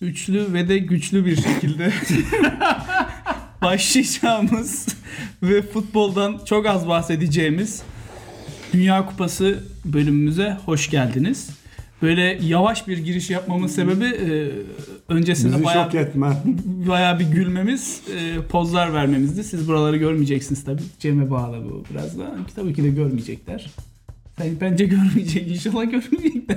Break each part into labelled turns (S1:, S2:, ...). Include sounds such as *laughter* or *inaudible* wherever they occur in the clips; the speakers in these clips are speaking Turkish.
S1: üçlü ve de güçlü bir şekilde başlayacağımız ve futboldan çok az bahsedeceğimiz Dünya Kupası bölümümüze hoş geldiniz. Böyle yavaş bir giriş yapmamın sebebi e, öncesinde
S2: Bizi
S1: bayağı
S2: şok etme.
S1: bayağı bir gülmemiz, e, pozlar vermemizdi. Siz buraları görmeyeceksiniz tabii. Cem'e bağlı bu biraz da. Tabii ki de görmeyecekler. Ben, bence *laughs* görmeyecek. İnşallah görmeyecekler.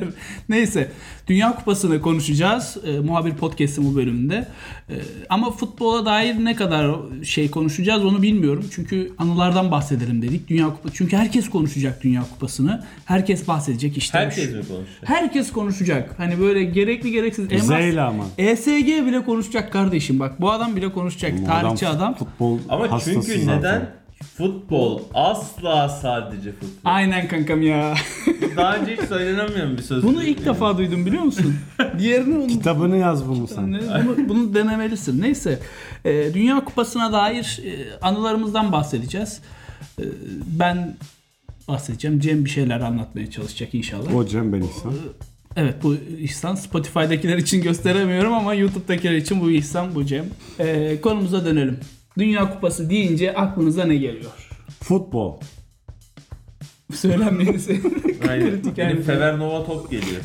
S1: Neyse. Dünya Kupası'nı konuşacağız. E, muhabir Podcast'ın bu bölümünde. E, ama futbola dair ne kadar şey konuşacağız onu bilmiyorum. Çünkü anılardan bahsedelim dedik. Dünya Kupası. Çünkü herkes konuşacak Dünya Kupası'nı. Herkes bahsedecek işte.
S3: Herkes mi konuşacak?
S1: Herkes konuşacak. Hani böyle gerekli gereksiz. Emrah-
S2: Zeyle ama.
S1: ESG bile konuşacak kardeşim bak. Bu adam bile konuşacak. Tarihçi adam.
S2: Futbol
S3: Ama
S2: hastası
S3: çünkü
S2: zaten.
S3: neden? Futbol asla sadece futbol.
S1: Aynen kankam *laughs* ya.
S3: Daha önce hiç söylenemiyor mu bir söz?
S1: Bunu ilk defa duydum biliyor *laughs* musun? Diğerini unuttum.
S2: Kitabını yaz bunu sen.
S1: Ne- Bunu, bunu denemelisin. Neyse. Ee, Dünya Kupası'na dair e, anılarımızdan bahsedeceğiz. Ee, ben bahsedeceğim. Cem bir şeyler anlatmaya çalışacak inşallah.
S2: O Cem ben İhsan.
S1: Evet bu ihsan Spotify'dakiler için gösteremiyorum ama YouTube'dakiler için bu ihsan bu Cem. Ee, konumuza dönelim. Dünya Kupası deyince aklınıza ne geliyor? *laughs*
S2: Futbol.
S1: Söylenmeyesi.
S3: Aynen.
S1: *laughs* Kritik
S3: Benim
S1: yani.
S3: Fevernova
S1: *laughs*
S3: top geliyor.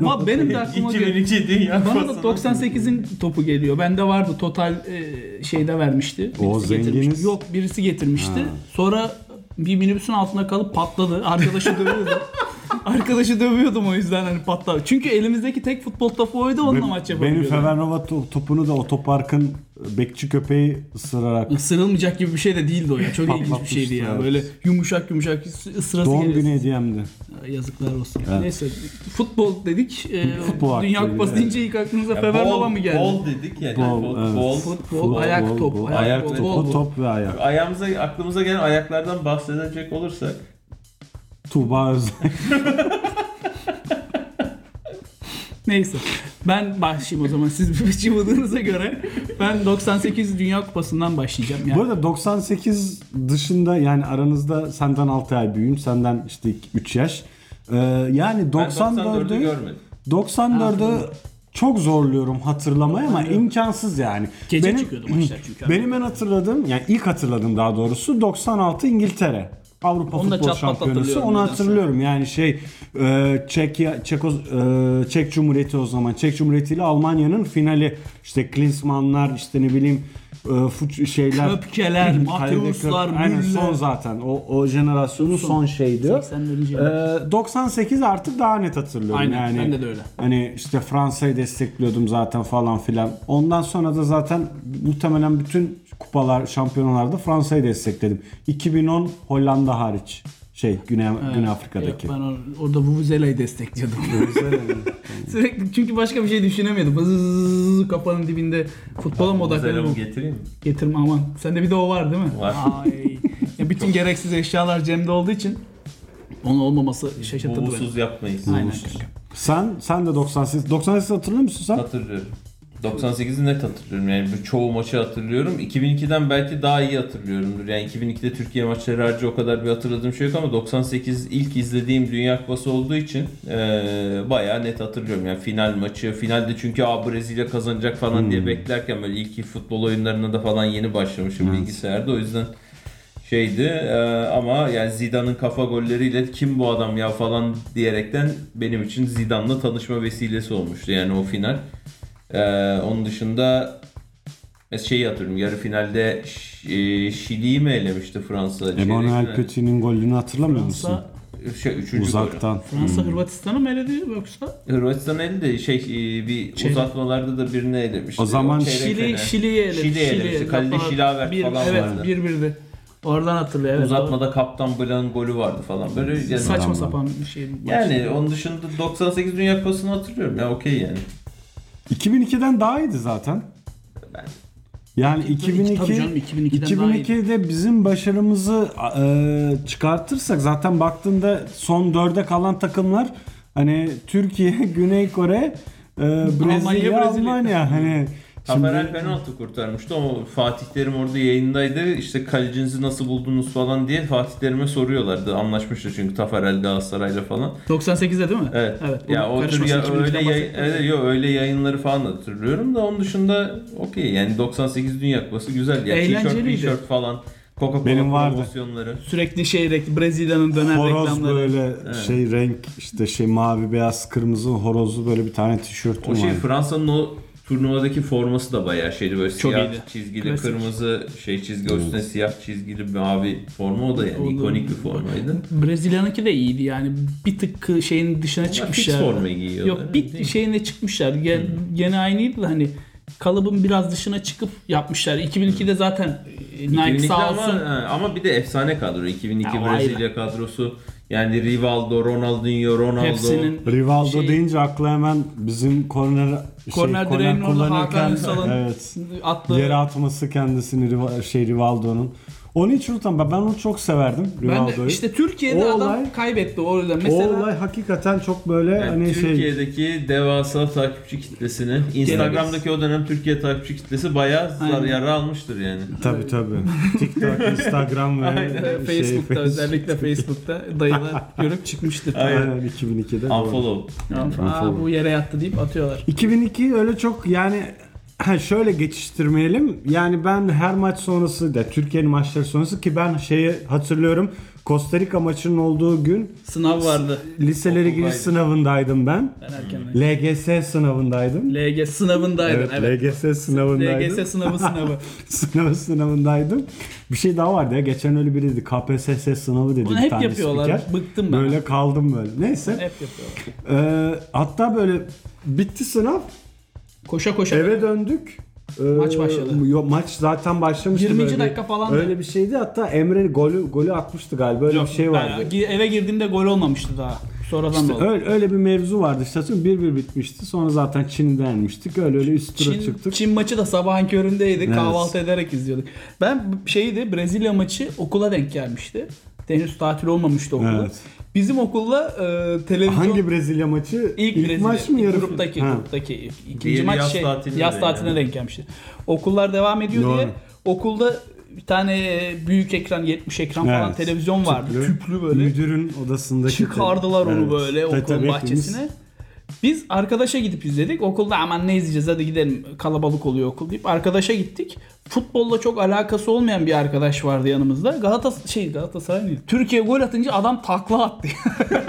S1: Ama benim
S3: *laughs*
S1: de aklıma geliyor.
S3: 2002 Dünya
S1: Bana da
S3: Kupası'nın-
S1: 98'in topu geliyor. Bende vardı total e, şeyde vermişti.
S2: O
S1: Birisi getirmişti.
S2: zenginiz.
S1: Yok birisi getirmişti. Sonra bir minibüsün altında kalıp patladı. Arkadaşı
S2: *laughs*
S1: dövüyordu. Arkadaşı dövüyordum o yüzden hani patladı. Çünkü elimizdeki tek futbol topu oydu onunla
S2: Be-
S1: maç
S2: benim
S1: yapabiliyordum.
S2: Fevernova to- topunu da otoparkın bekçi köpeği ısırarak
S1: Isırılmayacak gibi bir şey de değildi o ya. Çok ilginç bir
S2: Patlatmıştı,
S1: şeydi ya.
S2: evet.
S1: Böyle yumuşak yumuşak ısı- ısırası
S2: doğum
S1: geliyor.
S2: günü hediyemdi.
S1: Yazıklar olsun.
S2: Evet.
S1: Neyse futbol dedik. Ee,
S2: Futbol
S1: Dünya
S2: hakkıydı,
S1: Kupası
S2: evet.
S1: deyince ilk aklınıza
S3: Ya
S1: Fevernova
S3: bol-
S1: mı geldi?
S3: Bol dedik ya.
S2: Bol,
S3: Bol, bol,
S2: evet.
S1: Futbol, ayak top,
S2: bol.
S1: ayak,
S3: ayak
S1: top,
S3: topu,
S1: bol,
S2: Topu,
S1: bol.
S2: top ve ayak.
S3: Ayağımıza, aklımıza gelen ayaklardan bahsedecek olursak.
S2: Tuğba Özden.
S1: Neyse. Ben başlayayım o zaman. Siz bir *laughs* çıvıldığınıza göre ben 98 Dünya Kupası'ndan başlayacağım.
S2: Bu
S1: Yani.
S2: arada 98 dışında yani aranızda senden 6 ay büyüğüm, senden işte 3 yaş. Ee, yani
S3: Ben 94'ü
S2: 94'ü
S3: görmedim.
S2: 94'ü çok zorluyorum hatırlamaya ama imkansız yani.
S1: Gece çıkıyordu maçlar çünkü abi.
S2: *laughs* Benim en hatırladığım yani ilk hatırladığım daha doğrusu 96 İngiltere. Avrupa
S1: Onu da
S2: Futbol
S1: çat pat
S2: Şampiyonası.
S1: hatırlıyorum
S2: Onu
S1: nedense.
S2: hatırlıyorum. Yani şey e, Çek Çeko- e, Çek Cumhuriyeti o zaman. Çek Cumhuriyeti ile Almanya'nın finali işte Klinsmannlar işte ne bileyim e, fut- şeyler
S1: Köpkeler,
S2: *laughs* Kalede
S1: Mateuslar,
S2: Köp- Aynen son
S1: Müller.
S2: zaten. O o jenerasyonun son, şeydi.
S1: 81.
S2: Ee, 98 artık daha net hatırlıyorum.
S1: Aynen,
S2: yani,
S1: bende de öyle.
S2: Hani işte Fransa'yı destekliyordum zaten falan filan. Ondan sonra da zaten muhtemelen bütün kupalar, şampiyonalarda Fransa'yı destekledim. 2010 Hollanda hariç. Şey Güney, Güney Afrika'daki.
S1: Yok, ben or- orada Vuvuzela'yı
S2: *laughs*
S1: destekliyordum. Sürekli çünkü başka bir şey düşünemedim. Hızızızız kafanın dibinde futbola mı
S3: Güzelim
S1: odaklanıyorum?
S3: getireyim mi?
S1: Getirme aman. Sende bir de o var değil mi?
S3: Var.
S1: Ay. Ya bütün gereksiz eşyalar Cem'de olduğu için onun
S3: Ee,
S1: olmaması şaşırtıcı.
S3: Bubusuz yapmayız.
S1: Aynen
S3: Bubusuz.
S1: kanka.
S2: Sen sen de 98 98 hatırlıyor musun sen?
S3: Hatırlıyorum. 98'i net hatırlıyorum yani bu çoğu maçı hatırlıyorum. 2002'den belki daha iyi hatırlıyorumdur. Yani 2002'de Türkiye maçları harici o kadar bir hatırladığım şey yok ama 98 ilk izlediğim Dünya Kupası olduğu için eee bayağı net hatırlıyorum. Yani final maçı, finalde çünkü Aa, Brezilya kazanacak falan diye beklerken böyle ilk futbol oyunlarına da falan yeni başlamışım bilgisayarda. O yüzden şeydi eee, ama yani Zidane'ın kafa golleriyle kim bu adam ya falan diyerekten benim için Zidane'la tanışma vesilesi olmuştu yani o final. Ee, onun dışında e, şeyi hatırlıyorum. Yarı finalde Ş- e, Şili'yi mi elemişti Fransa? Çeyrek
S2: Emmanuel
S3: final-
S2: Petit golünü hatırlamıyor musun?
S1: Fransa,
S3: Şey, üçüncü golü.
S2: Uzaktan.
S1: Fransa
S3: Hmm.
S1: Hırvatistan'ı mı eledi yoksa?
S3: Hırvatistan elinde şey e, bir
S1: Çeyrek.
S3: uzatmalarda da birini elemişti.
S2: O zaman
S3: çeyrek
S1: Şili,
S3: final.
S1: Şili'yi eledi.
S3: Şili'yi elemişti. Kalede
S1: Kapanan-
S3: Şilavert
S1: bir,
S3: falan
S1: evet,
S3: vardı.
S1: bir birdi. Oradan hatırlıyor. Evet,
S3: Uzatmada Kaptan Blanc'ın golü vardı falan. Böyle yani,
S1: Saçma
S2: Adamlar.
S1: sapan bir şey.
S3: Yani onun dışında 98 Dünya Kupası'nı hatırlıyorum ya okey yani.
S2: 2002'den daha iyiydi zaten.
S3: Ben-
S2: Yani
S1: Tabii
S2: 2002
S1: canım, 2002'den daha iyiydi.
S2: 2002'de bizim başarımızı e, çıkartırsak zaten baktığında son dörde kalan takımlar *laughs* hani Türkiye, Güney Kore, e, Brezilya,
S1: *laughs*
S2: Almanya,
S1: Brezilya.
S2: hani
S3: Taferel penaltı kurtarmıştı. O Fatih Terim orada yayındaydı. İşte kalecinizi nasıl buldunuz falan diye Fatih Terim'e soruyorlardı. Anlaşmıştı çünkü Taferel Galatasaray'la falan.
S1: 98'de değil mi?
S3: Evet.
S1: Evet,
S3: Ya
S1: onun
S3: o tür
S1: karışması
S3: ya
S1: için
S3: öyle
S1: birlikte
S3: yay,
S1: bahsetmiyoruz.
S3: evet, yo, öyle yayınları falan hatırlıyorum da onun dışında okey yani 98 Dünya Kupası güzel ya. T-shirt,
S1: Eğlenceliydi.
S3: t-shirt falan. Coca-Cola
S2: Benim vardı.
S3: promosyonları.
S1: Sürekli şey rek- Brezilya'nın döner
S2: Horoz
S1: reklamları.
S2: böyle
S3: Evet.
S2: şey renk işte şey mavi beyaz kırmızı horozlu böyle bir tane tişörtüm
S3: O şey
S2: vardı.
S3: Fransa'nın o turnuvadaki forması da bayağı şeydi böyle
S1: Çok
S3: siyah
S1: iyiydi.
S3: çizgili
S1: Klasik.
S3: kırmızı şey çizgi üstüne siyah çizgili mavi forma o da yani
S1: Oğlum.
S3: ikonik bir formaydı.
S1: Brezilya'nınki de iyiydi yani bir tık şeyin dışına
S3: Onlar fix
S1: çıkmışlar.
S3: formayı giyiyorlar.
S1: Yok şey, bir şeyine çıkmışlar. Gene, gene aynıydı da hani kalıbın biraz dışına çıkıp yapmışlar. 2002'de zaten e, Nike
S3: 2002'de
S1: sağ
S3: ama,
S1: olsun.
S3: he, ama bir de efsane kadro. 2002
S1: Ya o
S3: Brezilya kadrosu. Yani Rivaldo, Ronaldinho, Ronaldo.
S1: Hepsinin
S2: Rivaldo
S1: şey-
S2: deyince akla hemen bizim korner şey,
S1: Korner direğinin orada Hakan Ünsal'ın
S2: evet,
S1: attığı
S2: yere atması kendisini Riva- şey Rivaldo'nun. Onu hiç unutamam. Ben ben onu çok severdim
S1: Ben
S2: Rivaldo'yu.
S1: de, işte Türkiye'de
S2: O
S1: adam
S2: olay-
S1: kaybetti o yüzden.
S2: o
S1: Mesela
S2: olay hakikaten çok böyle
S3: Yani
S2: hani şey
S3: Türkiye'deki devasa takipçi kitlesini, Instagram'daki o dönem Türkiye takipçi kitlesi bayağı zar
S1: Aynen.
S3: yara almıştır yani.
S2: tabii tabii.
S1: *laughs*
S2: TikTok, Instagram ve
S1: Aynen,
S2: şey,
S1: *laughs* Facebook'ta özellikle Facebook'ta
S2: *laughs*
S1: dayılar görüp çıkmıştır.
S2: Aynen 2002'de. doğru.
S3: Unfollow.
S1: Aa, bu yere yattı deyip atıyorlar.
S2: 2002 öyle çok yani ha, şöyle geçiştirmeyelim. Yani ben her maç sonrası da Türkiye'nin maçları sonrası ki ben şeyi hatırlıyorum. Costa Rica maçının olduğu gün
S1: Sınav vardı.
S2: liselere giriş
S3: Okuldaydım.
S2: sınavındaydım ben.
S1: Ben erken
S2: LGS sınavındaydım.
S1: LG sınavındaydın.
S2: Evet,
S1: Evet,
S2: LGS sınavındaydım.
S1: LGS sınavı sınavı.
S2: *laughs* Sınav sınavındaydım. Bir şey daha vardı ya. Geçen öyle biriydi. KPSS sınavı dedi
S1: Bunu
S2: bir
S1: hep
S2: tane
S1: yapıyorlar.
S2: spiker.
S1: Bıktım ben.
S2: Böyle kaldım böyle. Neyse.
S1: Hep yapıyorlar.
S2: Ee, hatta böyle bitti sınav.
S1: Koşa koşa.
S2: Eve döndük. Ee,
S1: Maç başladı.
S2: Yo, maç zaten başlamıştı.
S1: 20.
S2: böyle bir-
S1: dakika falan da.
S2: Öyle bir şeydi. Hatta Emre golü golü atmıştı galiba. Öyle
S1: Yok,
S2: bir şey vardı.
S1: ben gi- eve girdiğimde gol olmamıştı daha. Sonradan da
S2: İşte
S1: oldu.
S2: öyle, öyle bir mevzu vardı işte Hatırlıyorum, bir bir bitmişti sonra zaten Çin'de yenmiştik öyle öyle üst tura
S1: Çin,
S2: çıktık.
S1: Çin maçı da sabahın köründeydi.
S2: Evet.
S1: Kahvaltı ederek izliyorduk. Ben şeydi Brezilya maçı okula denk gelmişti. Henüz tatil olmamıştı okulda.
S2: Evet.
S1: Bizim okulla e, televizyon
S2: Hangi Brezilya maçı?
S1: ilk, Brezilya,
S2: maç mı yarı?
S1: gruptaki
S2: Ha.
S1: gruptaki ikinci
S3: Diğeri
S1: maç
S3: yaz
S1: şey
S3: tatiline
S1: yaz
S3: denk
S1: tatiline
S3: yani.
S1: denk gelmişti. Okullar devam ediyor
S2: Doğru.
S1: diye okulda bir tane büyük ekran 70 ekran falan
S2: Evet.
S1: televizyon vardı. Tüplü, böyle.
S2: Müdürün odasındaki.
S1: Çıkardılar onu
S2: Evet.
S1: böyle
S2: Tabii,
S1: okulun
S2: tabii
S1: bahçesine. Biz arkadaşa gidip izledik. Okulda aman ne izleyeceğiz hadi gidelim kalabalık oluyor okul deyip arkadaşa gittik. Futbolla çok alakası olmayan bir arkadaş vardı yanımızda. Galatasaray şey Galatasaray değil. Türkiye gol atınca adam takla attı. *laughs*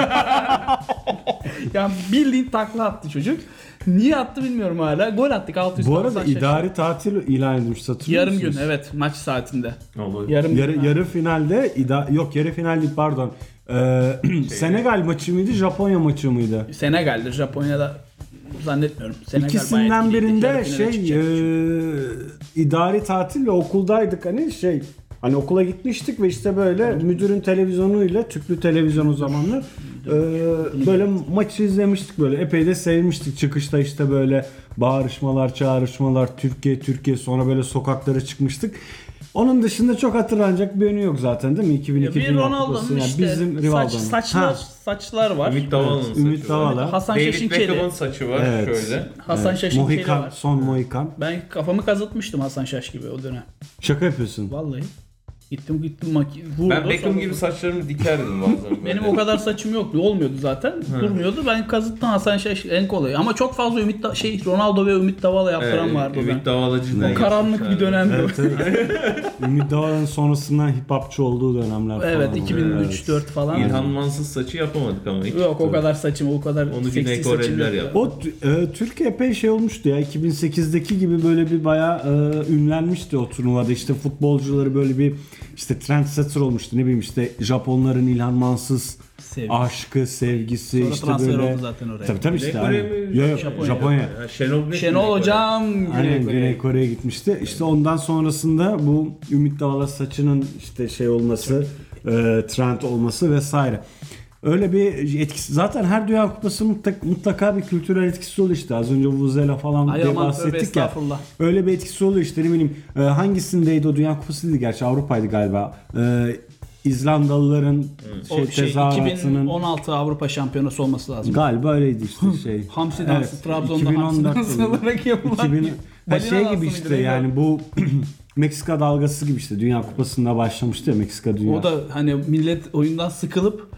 S1: yani bildiğin takla attı çocuk. Niye attı bilmiyorum hala. Gol attık 600
S2: hepimiz- Bu arada idari tatil ilan edilmiş hatırlıyor
S1: yarım gün
S2: musunuz?
S1: evet maç saatinde.
S3: Olur.
S1: Yarım
S2: Yarı,
S1: gün.
S2: yarı finalde ida yok yarı final değil pardon. Ee, *clears throat* Senegal maçı mıydı Japonya maçı mıydı?
S1: Senegal'dir Japonya'da zannetmiyorum. Senegal bayağı
S2: İkisinden
S1: iyi.
S2: birinde
S1: Yarı finale
S2: şey
S1: çıkacak.
S2: e, idari tatille okuldaydık hani şey hani okula gitmiştik ve işte böyle müdürün televizyonuyla tüplü televizyon o zamanlar e, böyle maçı izlemiştik böyle epey de sevmiştik çıkışta işte böyle bağırışmalar çağrışmalar Türkiye Türkiye sonra böyle sokaklara çıkmıştık. Onun dışında çok hatırlanacak bir önü yok zaten değil mi? 2002
S1: Ya bir
S2: Dünya
S1: Ronaldo'nun
S2: Kupası. Yani
S1: işte
S2: bizim
S1: saç,
S2: Rivaldo'nun.
S1: saçlar,
S2: Ha,
S1: saçlar var.
S3: Ümit Davala'nın saçı
S2: Ümit
S3: var.
S2: Davala.
S1: Hasan
S3: David
S1: Şaşinkeli.
S3: Beckham'ın saçı var
S2: Evet.
S3: şöyle.
S1: Hasan Şaşinkeli
S2: Mohikan,
S1: var.
S2: son Mohikan.
S1: Ben kafamı kazıtmıştım Hasan Şaş gibi o dönem.
S2: Şaka yapıyorsun.
S1: Vallahi. Gittim gittim maki vurdu.
S3: Ben Beckham
S1: sonra-
S3: gibi saçlarımı dikerdim bazen. böyle.
S1: Benim o kadar saçım yoktu. Olmuyordu zaten. Durmuyordu. Ben kazıttım Hasan Şaş en kolayı. Ama çok fazla Ümit Da- şey Ronaldo ve Ümit Davala yaptıran
S3: Evet,
S1: vardı.
S3: Ümit
S1: ben.
S3: Davalacı
S1: O karanlık bir dönemdi.
S2: Evet, evet. Ümit Davala'nın sonrasından hip hopçu olduğu dönemler falan.
S1: Evet
S2: oldu.
S1: 2003-4 falan.
S3: İlhan Mansız saçı yapamadık ama hiç.
S1: Yok o kadar saçım o kadar
S3: Onu
S1: seksi
S3: Güney
S1: saçım
S3: Koreliler
S1: yoktu.
S3: yaptı.
S2: O t- e, Türkiye epey şey olmuştu ya 2008'deki gibi böyle bir bayağı e, ünlenmişti o turnuvada işte futbolcuları böyle bir işte trendsetter olmuştu ne bileyim işte Japonların İlhan Mansız
S1: Sevgisi.
S2: aşkı sevgisi
S1: Sonra
S2: işte
S1: transfer
S2: böyle
S1: oldu zaten oraya.
S2: tabii tabii işte
S3: Güney Kore
S2: aynen.
S3: mi?
S2: Yo, yo,
S3: Japonya.
S2: Japonya,
S3: Ha, Şenol, ne Güney
S1: Şenol
S3: Kore?
S1: hocam
S2: Aynen
S1: Güney Kore.
S2: Güney Kore'ye gitmişti. İşte ondan sonrasında bu Ümit Davala saçının işte şey olması, e, trend olması vesaire. Öyle bir etkisi. Zaten her Dünya Kupası mutlaka, mutlaka bir kültürel etkisi oluyor işte. Az önce Vuzela falan
S1: Ay
S2: diye
S1: aman tövbe
S2: bahsettik ya.
S1: estağfurullah.
S2: Öyle bir etkisi oluyor işte ne bileyim. e, hangisindeydi o Dünya Kupası değil gerçi Avrupa'ydı galiba. E, İzlandalıların şey,
S1: O şey,
S2: tezahüratının
S1: 2016 Avrupa Şampiyonası olması lazım.
S2: galiba öyleydi işte şey.
S1: Hamsi dansı, Trabzon'da hamsi
S2: 2014
S1: dansı
S2: yılı.
S1: olarak yapılan
S2: 2000
S1: bir
S2: Ha,
S1: balina
S2: şey
S1: dansı
S2: gibi
S1: mıydı
S2: işte
S1: neydi o?
S2: yani bu *clears throat* Meksika dalgası gibi işte Dünya Kupası'nda başlamıştı ya Meksika Dünya.
S1: O da hani millet oyundan sıkılıp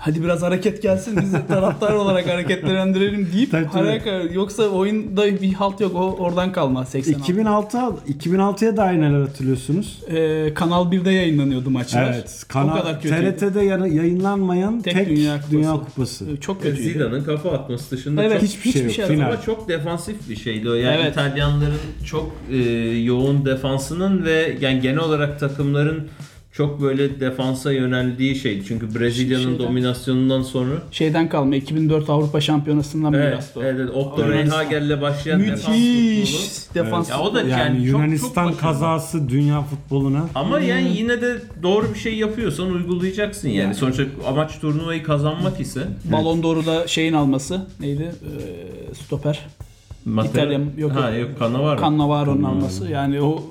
S1: hadi biraz hareket gelsin biz de taraftar olarak hareketlendirelim deyip
S2: Tabii, tabii.
S1: hareket, yoksa oyunda bir halt yok o oradan kalma 86.
S2: 2006 2006'ya dair neler hatırlıyorsunuz?
S1: Ee, Kanal 1'de yayınlanıyordu maçlar.
S2: Evet. Kanal,
S1: o kadar kötüydü.
S2: TRT'de yana- yayınlanmayan tek, Dünya Kupası.
S1: Ee, Çok kötüydü.
S3: Zidane'ın kafa atması dışında
S1: Evet,
S3: çok
S2: Hiçbir şey yok.
S1: yok.
S2: Final.
S3: Ama çok defansif bir şeydi o. Yani
S1: Evet.
S3: İtalyanların çok e, yoğun defansının ve yani genel olarak takımların çok böyle defansa yöneldiği şey. Çünkü Brezilya'nın
S1: Şeyden-
S3: dominasyonundan sonra
S1: Şeyden kalma 2004 Avrupa Şampiyonası'ndan
S3: Evet,
S1: biraz da o.
S3: evet, evet. Otto
S1: Yunanistan.
S3: Reinhager'le başlayan defans
S1: Müthiş
S3: futbolu.
S1: defans.
S3: Ya o da
S2: Yani,
S3: yani çok- çok
S2: Yunanistan
S3: başarılı.
S2: kazası dünya futboluna.
S3: Ama yani yine de doğru bir şey yapıyorsan uygulayacaksın yani. Sonuçta amaç turnuvayı kazanmak ise
S1: Balon doğruda şeyin alması neydi? Ee, stoper. İtalyan- yok,
S3: ha,
S1: yok.
S3: yok kana var. mı?
S1: Cannavaro'nun alması. Yani o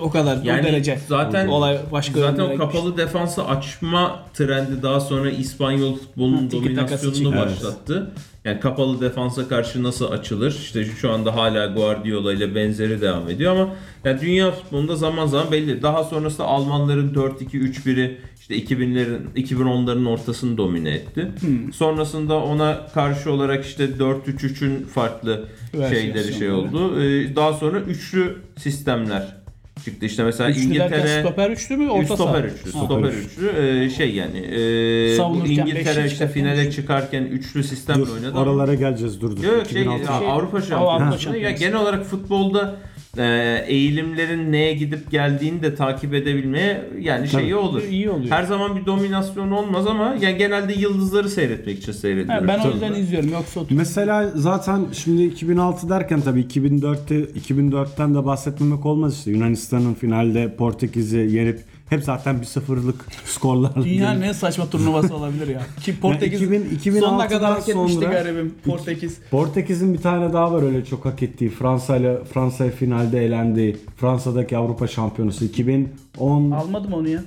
S1: o kadar
S3: Yani
S1: o derece.
S3: zaten-
S1: olay başka şey.
S3: Zaten
S1: yönlere
S3: o
S1: gitmiş.
S3: kapalı defansı açma trendi daha sonra İspanyol futbolunun
S1: Ha, tiki takası
S3: dominasyonunu
S1: çıktı.
S3: başlattı. Yani kapalı defansa karşı nasıl açılır? İşte şu anda hala Guardiola ile benzeri devam ediyor ama yani dünya futbolunda zaman zaman belli. Daha sonrasında Almanların 4-2-3-1'i işte 2000'lerin 2010'ların ortasını domine etti.
S1: Hmm.
S3: Sonrasında ona karşı olarak işte 4-3-3'ün farklı şeyleri şey
S1: Versiyonları.
S3: oldu. Ee, Daha sonra üçlü sistemler çıktı. İşte mesela
S1: Üçlü derken
S3: İngiltere
S1: stoper üçlü mü?
S3: Üç
S1: Orta saha.
S3: stoper üçlü.
S1: Ha.
S3: Stoper üçlü. Ee, şey yani. E, bu
S1: Savunurken
S3: İngiltere
S1: beşli
S3: işte
S1: çıkarken
S3: finale
S1: üçlü.
S3: çıkarken üçlü sistemle
S2: Dur,
S3: oynadı. ama-
S2: oralara geleceğiz dur dur.
S3: Yok şey,
S2: 2006
S3: ya, Avrupa
S1: Avrupa
S3: Şampiyonası. Ya
S1: Şampiyonası.
S3: genel olarak futbolda e, eğilimlerin neye gidip geldiğini de takip edebilmeye yani
S2: Tabii.
S3: şeyi olur.
S1: İyi oluyor.
S3: Her zaman bir dominasyon olmaz ama yani genelde yıldızları seyretmek için
S1: Ha,
S3: seyrediyoruz.
S1: ben o
S3: Tabii.
S1: yüzden izliyorum. Yoksa otur.
S2: Mesela zaten şimdi 2006 derken tabii 2004'te 2004'ten de bahsetmemek olmaz işte Yunanistan'ın finalde Portekiz'i yenip hep zaten bir sıfırlık *laughs* skorlarla.
S1: Dünyanın
S2: gelip-
S1: en saçma turnuvası olabilir
S3: *laughs*
S1: ya. Ki Portekiz
S2: 2000
S1: sonuna
S2: 2006'dan
S1: kadar hak etmişti
S2: sonra-
S1: garibim Portekiz.
S2: Portekiz'in bir tane daha var öyle çok hak ettiği. Fransa ile Fransa finalde elendiği. Fransa'daki Avrupa Şampiyonası 2010
S1: Almadım onu ya.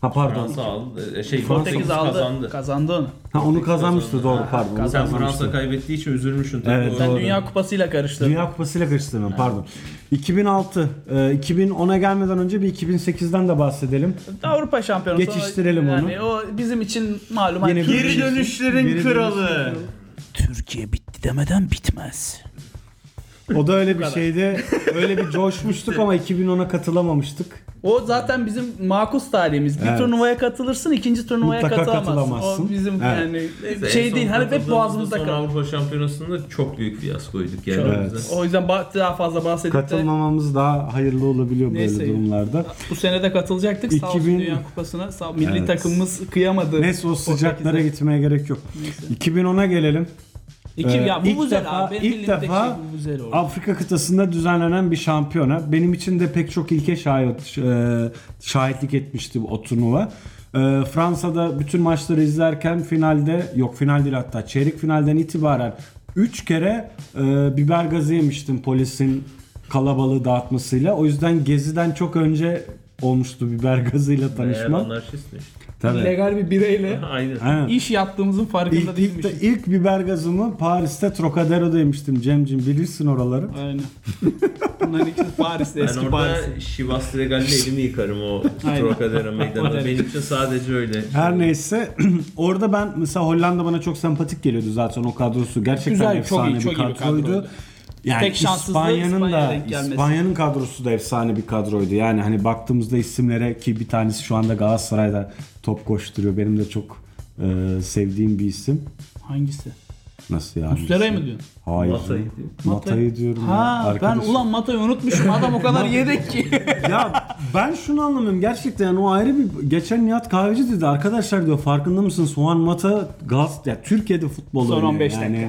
S2: ha pardon.
S3: Fransa aldı. e, Şey,
S1: Portekiz
S3: Portekiz
S1: aldı.
S3: kazandı.
S1: Kazandı onu.
S2: Ha onu kazanmıştı doğru pardon. onu
S3: Sen
S2: kazanmıştı.
S3: Fransa kaybettiği için üzülmüşsün. tabii.
S2: Evet.
S3: O-
S1: Sen
S2: Doğru.
S1: Dünya Kupası'yla karıştırdın.
S2: Dünya Kupası'yla karıştırdım pardon. 2006, e, 2010'a gelmeden önce bir 2008'den de bahsedelim.
S1: Avrupa Şampiyonası.
S2: Geçiştirelim
S1: yani O bizim için malum. hani
S2: Yeni bir-
S1: Türkiye-
S3: Geri dönüşlerin
S2: Geri
S3: kralı.
S1: Türkiye bitti demeden bitmez.
S2: O da öyle bir şeydi. Öyle bir coşmuştuk ama 2010'a katılamamıştık.
S1: O zaten bizim makus tarihimiz. Bir
S2: Evet.
S1: turnuvaya katılırsın, ikinci turnuvaya
S2: Mutlaka
S1: katılamazsın.
S2: katılamazsın.
S1: O bizim
S2: Evet.
S1: yani
S3: Neyse, en
S1: şey
S3: son
S1: değil. Hani hep
S3: katıldığımızda
S1: boğazımızda
S3: son
S1: kalır.
S3: Avrupa Şampiyonası'nda çok büyük fiyaskoyduk yani.
S2: Evet.
S3: O yüzden-
S1: O yüzden ba- daha fazla bahsedip de
S2: Katılmamamız daha hayırlı olabiliyor böyle
S1: Neyse.
S2: durumlarda.
S1: bu sene de katılacaktık. Sağ olsun
S2: 2000
S1: Dünya Kupası'na. Sağ, milli
S2: Evet.
S1: takımımız kıyamadı.
S2: Neyse o sıcaklara
S1: Portekiz'e.
S2: gitmeye gerek yok.
S1: Neyse.
S2: 2010'a gelelim.
S1: İki,
S2: Ee,
S1: ya
S2: ilk
S1: bu güzel
S2: defa-
S1: abi. Benim
S2: ilk
S1: bildiğimdeki
S2: defa
S1: şey bu güzel oldu.
S2: Afrika kıtasında düzenlenen bir şampiyona. Benim için de pek çok ilke şahit, e, şahitlik etmişti bu- o turnuva. E, Fransa'da bütün maçları izlerken finalde, yok final değil hatta çeyrek finalden itibaren 3 kere e, biber gazı yemiştim polisin kalabalığı dağıtmasıyla. O yüzden Gezi'den çok önce olmuştu biber gazıyla
S3: Eğer
S2: tanışma.
S3: anarşistmiş.
S2: Tabii.
S1: Legal bir bireyle
S3: *laughs* Aynen.
S2: Aynen.
S1: iş yaptığımızın farkında
S2: İlk, ilk,
S1: değilmişiz.
S2: de, ilk biber gazımı Paris'te Trocadero'da yemiştim Cemcim bilirsin oraları.
S1: Aynen. Bunların ikisi Paris'te,
S3: Ben
S1: eski Paris.
S3: orada Şivas Regal'le elimi
S1: *laughs*
S3: yıkarım o
S1: Aynen.
S3: Trocadero meydanında.
S1: Aynen.
S3: Benim için sadece öyle.
S2: Her neyse *clears throat* orada ben mesela Hollanda bana çok sempatik geliyordu zaten o kadrosu. Gerçekten
S1: Güzel, çok
S2: efsane
S1: iyi, çok
S2: bir
S1: iyi bir
S2: kadroydu.
S1: kadroydu.
S2: Yani
S1: Tek şanssızlığı
S2: İspanya'nın
S1: İspanya'ya
S2: da
S1: denk gelmesi.
S2: İspanya'nın kadrosu da efsane bir kadroydu. Yani hani baktığımızda isimlere ki bir tanesi şu anda Galatasaray'da top koşturuyor. Benim de çok e, sevdiğim bir isim.
S1: Hangisi?
S2: Nasıl yani?
S1: Mustera'yı mı diyorsun?
S2: Hayır.
S3: Mata'yı
S2: Matayı,
S3: diyor.
S2: diyorum. ya,
S1: Ha ben
S2: arkadaşım.
S1: ulan Mata'yı unutmuşum. Adam o *laughs* kadar yedek ki.
S2: ya ben şunu anlamıyorum gerçekten yani o ayrı bir geçen Nihat Kahveci dedi arkadaşlar diyor farkında mısınız Soğan Mata Gaz ya Türkiye'de futbol
S1: Son
S2: oynuyor
S1: 15
S2: yani.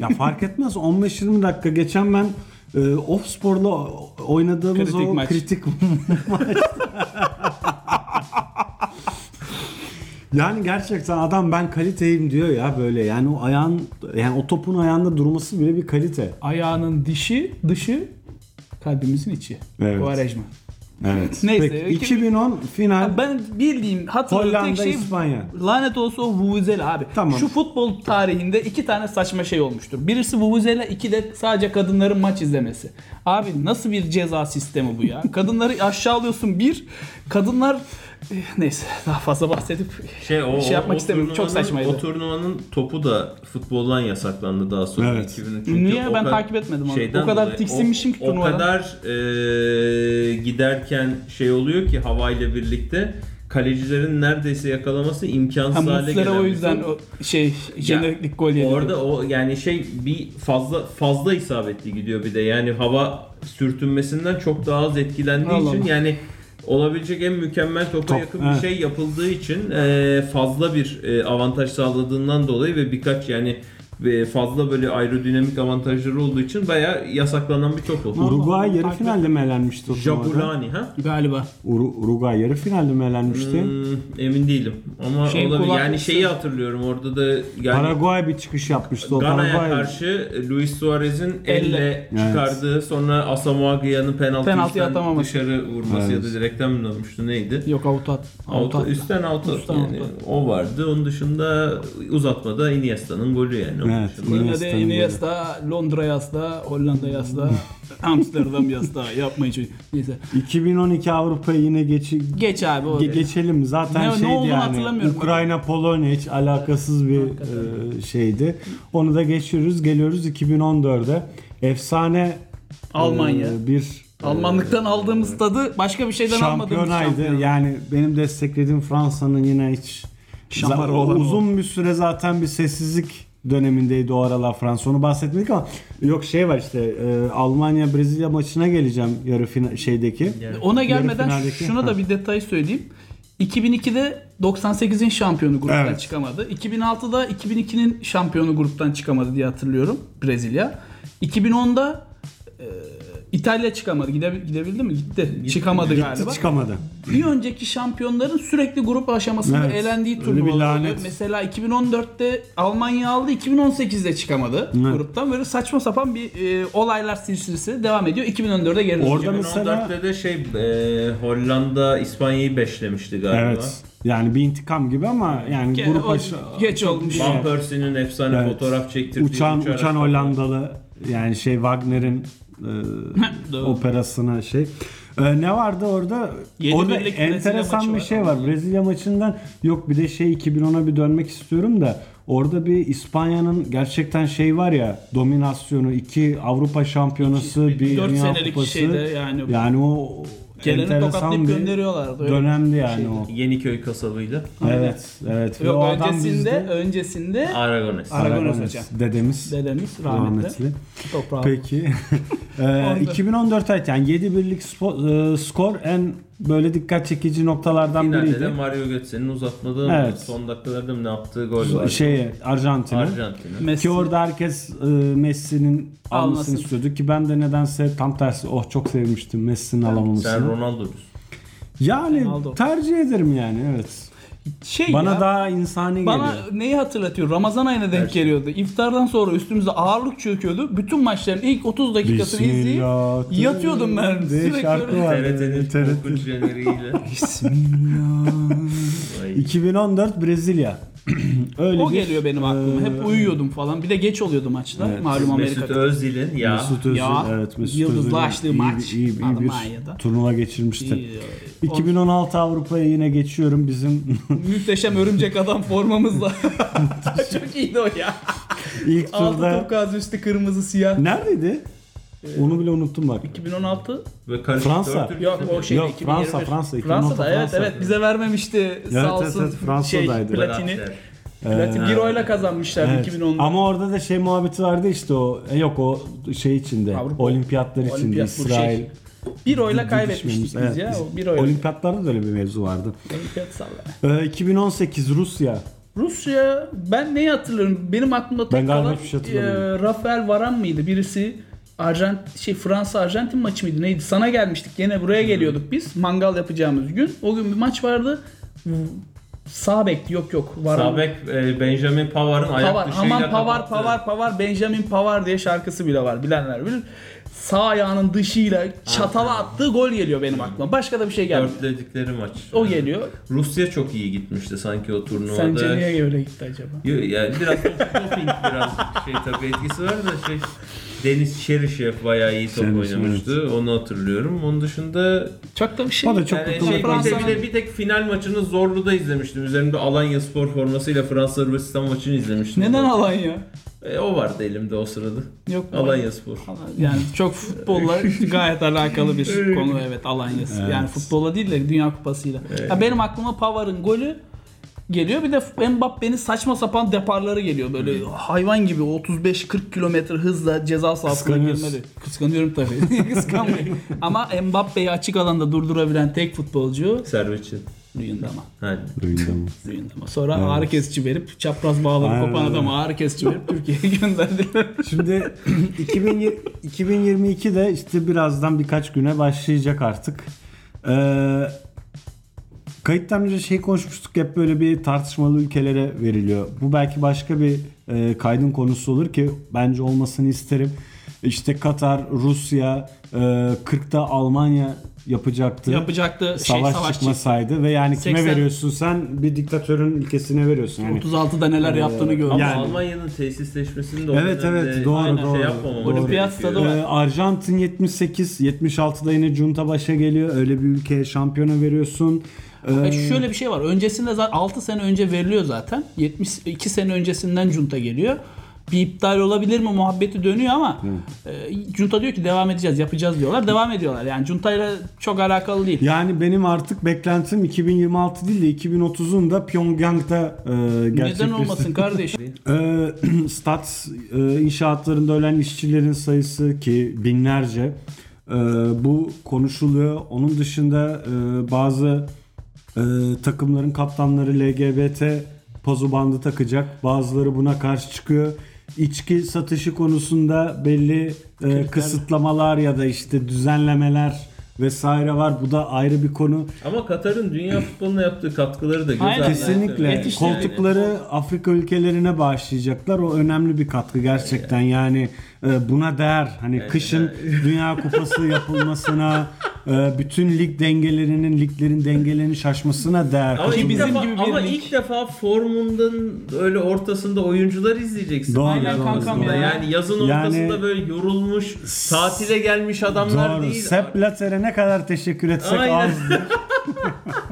S2: ya fark etmez 15-20 dakika geçen ben e, Offspor'la oynadığımız
S1: Kritik
S2: o
S1: maç.
S2: kritik *laughs* maç. Yani gerçekten adam ben kaliteyim diyor ya böyle yani o ayağın yani o topun ayağında durması bile bir kalite.
S1: Ayağının dişi, dışı, kalbimizin içi.
S2: Evet.
S1: Quaresma.
S2: Evet.
S1: Neyse,
S2: Peki,
S1: iki-
S2: 2010 final
S1: Ya Ben bildiğim hatırladığım
S2: Hollanda
S1: tek şey
S2: İspanya.
S1: lanet olsa o Vuvuzela abi.
S2: Tamam.
S1: Şu futbol tarihinde iki tane saçma şey olmuştur. Birisi Vuvuzela, iki de sadece kadınların maç izlemesi. Abi nasıl bir ceza sistemi bu ya? Kadınları aşağılıyorsun bir, kadınlar eh, neyse daha fazla bahsedip
S3: Şey, o,
S1: şey yapmak
S3: o
S1: istemiyorum. Çok
S3: turnuvanın-
S1: saçmaydı.
S3: O turnuvanın topu da futboldan yasaklandı daha sonra.
S2: Evet.
S3: 2003.
S1: Niye?
S3: O
S1: Ben
S3: kad-
S1: takip etmedim onu.
S3: şeyden
S1: O kadar
S3: dolayı.
S1: tiksinmişim ki
S3: o,
S1: turnuvadan.
S3: O kadar eee, giderken şey oluyor ki havayla birlikte kalecilerin neredeyse yakalaması imkansız
S1: Ha,
S3: hale gelen
S1: Muslera o
S3: bir
S1: yüzden
S3: top.
S1: o şey jeneriklik gol yedi.
S3: Orada o yani şey bir fazla fazla isabetli gidiyor bir de. Yani hava sürtünmesinden çok daha az etkilendiği
S1: Allah
S3: için
S1: Allah.
S3: yani olabilecek en mükemmel topa
S2: Top,
S3: yakın
S2: evet.
S3: bir şey yapıldığı için e, fazla bir e, avantaj sağladığından dolayı ve birkaç yani e, fazla böyle aerodinamik avantajları olduğu için bayağı yasaklanan bir top oldu.
S2: Uruguay yarı finalde mi elenmişti o turnuvada?
S3: Jabulani ha?
S1: Galiba.
S2: Uru- Uruguay yarı finalde mi elenmişti?
S3: Hmm, emin değilim ama
S1: Şey,
S3: olabilir. Yani
S1: kulaklısı-
S3: şeyi hatırlıyorum orada da yani
S2: Paraguay bir çıkış yapmıştı. O
S3: Gana'ya
S2: Paraguay
S3: karşı e, Luis Suarez'in elle
S2: Evet.
S3: çıkardığı sonra Asamoah Gyan'ın penaltı
S1: Penaltıyı
S3: üstten
S1: atamaması.
S3: dışarı vurması
S2: Evet.
S3: ya da direkten mi olmuştu neydi?
S1: Yok avutu at.
S3: Auto,
S1: at.
S3: üstten auto
S1: Üstten
S3: yani
S1: auto.
S3: o vardı. Onun dışında uzatmada Iniesta'nın golü yani. Onun
S2: Evet.
S3: dışında-
S1: Yine
S2: Yunanistan'ın
S1: de Iniesta, Londra yasla, Hollanda
S3: *laughs*
S1: yasla, Amsterdam yasla. Yapmayın çünkü. Neyse.
S2: 2012 Avrupa'yı yine geçi
S1: Geç abi
S2: Ge-
S1: oraya.
S2: geçelim zaten
S1: Ne- ne
S2: şeydi
S1: olduğunu
S2: yani
S1: hatırlamıyorum.
S2: Ukrayna Polonya hiç alakasız bir e, şeydi. Onu da geçiyoruz geliyoruz 2014'e. Efsane e,
S1: Almanya.
S2: bir e,
S1: Almanlıktan aldığımız tadı başka bir şeyden almadığımız
S2: şampiyonaydı.
S1: şampiyon.
S2: Yani benim desteklediğim Fransa'nın yine hiç
S1: Şamarı
S2: za-
S1: olan
S2: uzun bir süre zaten bir sessizlik dönemindeydi o aralar Fransa. Onu bahsetmedik ama yok şey var işte e, Almanya Brezilya maçına geleceğim yarı final şeydeki.
S1: Ona
S2: Yarı
S1: gelmeden
S2: finaldeki-
S1: şuna da
S2: Ha.
S1: bir detay söyleyeyim. 2002'de 98'in şampiyonu gruptan
S2: Evet.
S1: çıkamadı. 2006'da 2002'nin şampiyonu gruptan çıkamadı diye hatırlıyorum Brezilya. 2010'da e, İtalya çıkamadı. Gide, gidebildi mi? Gitti. çıkamadı galiba.
S2: çıkamadı.
S1: bir önceki şampiyonların sürekli grup aşamasında
S2: Evet.
S1: elendiği
S2: Öyle bir
S1: turnuvalar. oluyor.
S2: lanet.
S1: Mesela 2014'te Almanya aldı, 2018'de çıkamadı
S2: Evet.
S1: gruptan. Böyle saçma sapan bir e, olaylar silsilesi devam ediyor. 2014'e geri dönüyor.
S2: Orada-
S3: 2014'te de şey e, Hollanda İspanya'yı beşlemişti galiba.
S2: Evet. Yani bir intikam gibi ama yani
S1: Ge-
S2: grup
S1: o-
S2: aşağı
S1: geç olmuş.
S3: Van Persie'nin efsane
S2: Evet.
S3: fotoğraf çektirdiği
S2: uçan
S3: uçarak-
S2: uçan Hollandalı yani şey Wagner'in e,
S1: *laughs* Doğru.
S2: operasına şey. E, ne vardı orada?
S1: Yedi
S2: orada
S1: birlik Brezilya maçı
S2: enteresan bir
S1: var.
S2: şey var. Brezilya maçından yok bir de şey 2010'a bir dönmek istiyorum da orada bir İspanya'nın gerçekten şey var ya dominasyonu iki Avrupa şampiyonası
S1: İki-
S2: bir
S1: dört
S2: dünya
S1: senelik
S2: kupası.
S1: şeyde yani-
S2: yani o
S1: Geleni
S2: enteresan
S1: tokatlayıp
S2: bir
S1: gönderiyorlardı. Öyle
S2: dönemdi yani o.
S3: Yeniköy kasabıyla.
S2: Evet, evet. Ve
S1: Yok
S2: o adam
S1: öncesinde,
S2: bizde.
S1: öncesinde
S3: Aragones.
S1: Aragones
S2: Aragones,
S1: hocam.
S2: Dedemiz.
S1: dedemiz rahmetli.
S2: Rahmetli.
S1: Toprağı.
S2: Peki. *laughs* Ee, 2014 evet yani 7 birlik spo- e, skor en böyle dikkat çekici noktalardan
S3: Finalde de
S2: biriydi.
S3: Mario Götze'nin uzatmadığı
S2: Evet. Şey,
S3: son dakikalarda mı ne yaptığı gol var.
S2: Şeye Arjantin'e.
S3: Arjantin'e.
S1: Messi.
S2: Ki orada herkes e, Messi'nin
S1: Almasın.
S2: almasını istiyordu ki ben de nedense tam tersi oh çok sevmiştim Messi'nin
S3: Sen
S2: alamamasını.
S3: Ronaldo'cusun.
S2: Yani
S1: Ronaldo.
S2: tercih ederim yani evet.
S1: Şey
S2: Bana
S1: ya,
S2: daha insani
S1: Bana
S2: geliyor.
S1: neyi hatırlatıyor? Ramazan ayına denk geliyordu. İftardan sonra üstümüze ağırlık çöküyordu. Bütün maçların ilk 30 dakikasını izleyip
S2: Bismillah.
S1: yatıyordum ben.
S2: diye
S1: Sürekli
S2: şarkı
S1: öyle.
S2: var.
S3: TRT'nin
S1: *laughs*
S2: TRT.
S3: korkunç jeneriğiyle. Ay.
S2: 2014 Brezilya. *clears throat* Öyle
S1: O
S2: bir-
S1: geliyor benim aklıma.
S2: Ee,
S1: Hep uyuyordum falan. Bir de geç oluyordu maçlar.
S2: Evet.
S1: Malum
S3: Mesut
S1: Amerika.
S3: Özil'in ya.
S2: Mesut Özil,
S1: Ya,
S2: evet Mesut
S1: yıldızlı
S2: Özil'in
S1: açtığı
S2: iyi bir-
S1: maç
S2: iyi, iyi bir
S1: Almanya'da.
S2: turnuva geçirmişti.
S1: İyi.
S2: 2016 Avrupa'ya yine geçiyorum bizim *laughs*
S1: Muhteşem örümcek adam formamızla. *laughs* Çok iyiydi o ya.
S2: ilk
S1: Altı
S2: turda.
S1: turkuaz üstü kırmızı siyah.
S2: Neredeydi?
S1: Ee,
S2: Onu bile unuttum bak.
S1: 2016
S3: Ve karışık
S2: Fransa.
S3: dörtlü
S1: Yok o şey
S2: Yok, Fransa, Fransa, 2016
S1: Fransa'da evet
S2: Fransa.
S1: evet bize vermemişti sağ
S2: evet,
S1: olsun.
S2: evet, Fransa'daydı.
S1: Şey,
S3: bir
S1: platini.
S3: karakter.
S1: Platin
S2: Ee,
S1: 1 oyla kazanmışlar
S2: Evet.
S1: 2010'da.
S2: Ama orada da şey muhabbeti vardı işte o e, yok o şey içinde
S1: Avrupa-
S2: olimpiyatlar içinde
S1: Olimpiyat bu
S2: İsrail.
S1: şey. 1 oyla
S2: Dü-
S1: kaybetmiştik
S2: düşmemiz.
S1: biz ya.
S2: Evet,
S1: O 1 oyla.
S2: Olimpiyatlarda da öyle bir mevzu vardı.
S1: Olimpiyat salla.
S2: Ee, 2018 Rusya.
S1: Rusya ben neyi hatırlıyorum? Benim aklımda
S2: Ben
S1: tek
S2: galiba
S1: kalan
S2: hiçbir şey hatırlamıyorum.
S1: e, Rafael Varan mıydı? Birisi Arjant şey Fransa Arjantin maçı mıydı? Neydi? Sana gelmiştik. Gene buraya geliyorduk biz. Mangal yapacağımız gün. O gün bir maç vardı. Sağ bek yok yok Varan.
S3: Sabek e, Benjamin Pavar'ın ayak
S1: Pavar,
S3: dışıyla
S1: aman Pavar
S3: kapattı.
S1: Pavar Pavar Benjamin Pavar diye şarkısı bile var bilenler bilir. sağ ayağının dışıyla çatala attığı gol geliyor benim aklıma. Başka da bir şey gelmiyor.
S3: Dörtledikleri maç.
S1: O geliyor.
S3: Rusya çok iyi gitmişti sanki o turnuvada.
S1: Sence niye öyle gitti acaba?
S3: Yo, Yani biraz doping biraz şey tabii etkisi var da şey Deniz Çerişev bayağı iyi top
S2: Çerişev,
S3: oynamıştı. Onu hatırlıyorum. Onun dışında
S1: Çok da bir şey.
S2: O da çok
S3: yani
S2: kutlama
S3: şey, bir,
S1: Fransa-
S3: de, bir, de- bir tek final maçını Zorlu'da izlemiştim. Üzerimde Alanya Spor formasıyla Fransa Hırvatistan maçını izlemiştim.
S1: Neden Alanya?
S3: E, o vardı elimde o sırada.
S1: Yok.
S3: Alanya Spor.
S1: Yani çok futbolla gayet alakalı bir konu evet Alanya'sı.
S2: Evet.
S1: Yani futbolla değil de Dünya Kupası'yla. Ya benim aklıma Pavar'ın golü geliyor. Bir de Mbappe'nin saçma sapan deparları geliyor. Böyle hayvan gibi 35-40 kilometre hızla ceza sahasına
S2: Kıskanıyorsun.
S1: girmeli. Kıskanıyorum tabii. *laughs* Kıskanmıyorum. Ama Mbappe'yi açık alanda durdurabilen tek futbolcu
S3: Servetçin.
S1: Luyendama.
S3: Hani.
S2: Duydum.
S1: Luyendama. Sonra ağrı kesici verip çapraz bağları
S2: Aynen
S1: kopan
S2: öyle.
S1: adamı ağrı kesici verip Türkiye'ye *laughs* gönderdiler.
S2: Şimdi *clears throat* 2020 2022'de işte birazdan birkaç güne başlayacak artık. Ee, kayıttan önce şey konuşmuştuk hep böyle bir tartışmalı ülkelere veriliyor. Bu belki başka bir e, kaydın konusu olur ki bence olmasını isterim. İşte Katar, Rusya, e, 40'ta Almanya yapacaktı.
S1: Yapacaktı şey
S2: savaş,
S1: savaş çıktı.
S2: çıkmasaydı ve yani kime
S1: 80
S2: veriyorsun sen bir diktatörün ülkesine veriyorsun. Yani
S1: 36'da neler yaptığını gördüm.
S3: Ama
S2: Yani-
S3: Almanya'nın tesisleşmesini de o
S2: Evet,
S3: dönemde
S2: evet, doğru,
S3: aynen
S2: doğru,
S3: şey yapmamaları
S2: doğru.
S3: gerekiyor.
S1: Olimpiyatta da var.
S2: Ee, Arjantin 78, 76'da yine Junta başa geliyor. Öyle bir ülkeye şampiyona veriyorsun. Ee,
S1: Ya şöyle bir şey var. Öncesinde zaten 6 sene önce veriliyor zaten. 72 sene öncesinden junta geliyor. Bir iptal olabilir mi muhabbeti dönüyor ama e, junta diyor ki devam edeceğiz, yapacağız diyorlar. Devam ediyorlar. Yani juntayla çok alakalı değil.
S2: yani benim artık beklentim 2026 değil de 2030'un da Pyongyang'da e,
S1: Neden
S2: gerçekleşti.
S1: olmasın
S2: *laughs*
S1: kardeş?
S2: Ee, *clears throat* stat e, inşaatlarında ölen işçilerin sayısı ki binlerce Ee, bu konuşuluyor. Onun dışında e, bazı e, takımların kaptanları LGBT pozu bandı takacak. Bazıları buna karşı çıkıyor. İçki satışı konusunda belli e, kısıtlamalar ya da işte düzenlemeler vesaire var. Bu da ayrı bir konu.
S3: Ama Katar'ın dünya futboluna yaptığı katkıları da göz
S1: Aynen.
S3: ardı
S2: Kesinlikle.
S3: etmemek.
S1: Yetiş-
S2: Koltukları Afrika ülkelerine bağışlayacaklar. O önemli bir katkı gerçekten. Yani e, buna değer. Hani kışın Dünya Kupası yapılmasına, e, bütün lig dengelerinin, liglerin dengelerinin şaşmasına değer.
S3: Ama,
S1: Ki
S3: ilk,
S1: bizim
S3: defa,
S1: gibi bir
S3: ama
S1: lig.
S3: ilk defa formundan öyle ortasında oyuncular izleyeceksin.
S2: Doğru,
S3: Aynen
S2: doğru,
S3: kankam
S2: doğru.
S3: ya. Yani yazın
S2: Yani-
S3: ortasında böyle yorulmuş, tatile gelmiş adamlar
S2: Doğru.
S3: değil.
S2: Sepp Blatter'e ne kadar teşekkür etsek
S3: Aynen.
S2: azdır.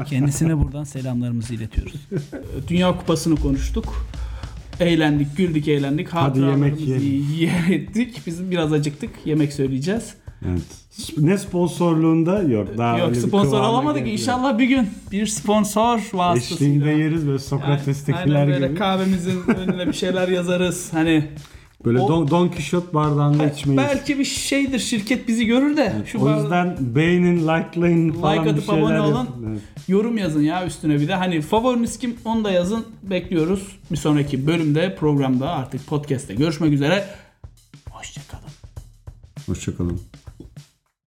S1: Kendisine buradan selamlarımızı iletiyoruz. Dünya Kupası'nı konuştuk. Eğlendik, güldük, eğlendik.
S2: Hadi yemek
S1: Hatıralarımızı *laughs*
S2: yiyelim.
S1: yer ettik. Biz biraz acıktık. Yemek söyleyeceğiz.
S2: Evet. Ne sponsorluğunda yok. Daha öyle
S1: Yok
S2: bir
S1: sponsor
S2: kıvama
S1: alamadık.
S2: gelmiyor.
S1: İnşallah bir gün bir sponsor vasıtasıyla.
S2: Eşliğinde yeriz böyle
S1: Yani
S2: Sokrates'tekiler
S1: aynen böyle
S2: gibi. *laughs*
S1: kahvemizin önüne bir şeyler yazarız. Hani
S2: Böyle
S1: O-
S2: Don, Don Kişot bardağında içmeyiz.
S1: belki bir şeydir şirket bizi görür de şu
S2: o
S1: bar-
S2: yüzden beğenin, likelayın falan
S1: Like
S2: bir
S1: atıp
S2: şeyler
S1: abone olun.
S2: yapın. Evet.
S1: yorum yazın ya üstüne bir de. Hani favoriniz kim onu da yazın. Bekliyoruz. Bir sonraki bölümde programda artık podcast'te görüşmek üzere. Hoşçakalın.
S2: Hoşçakalın.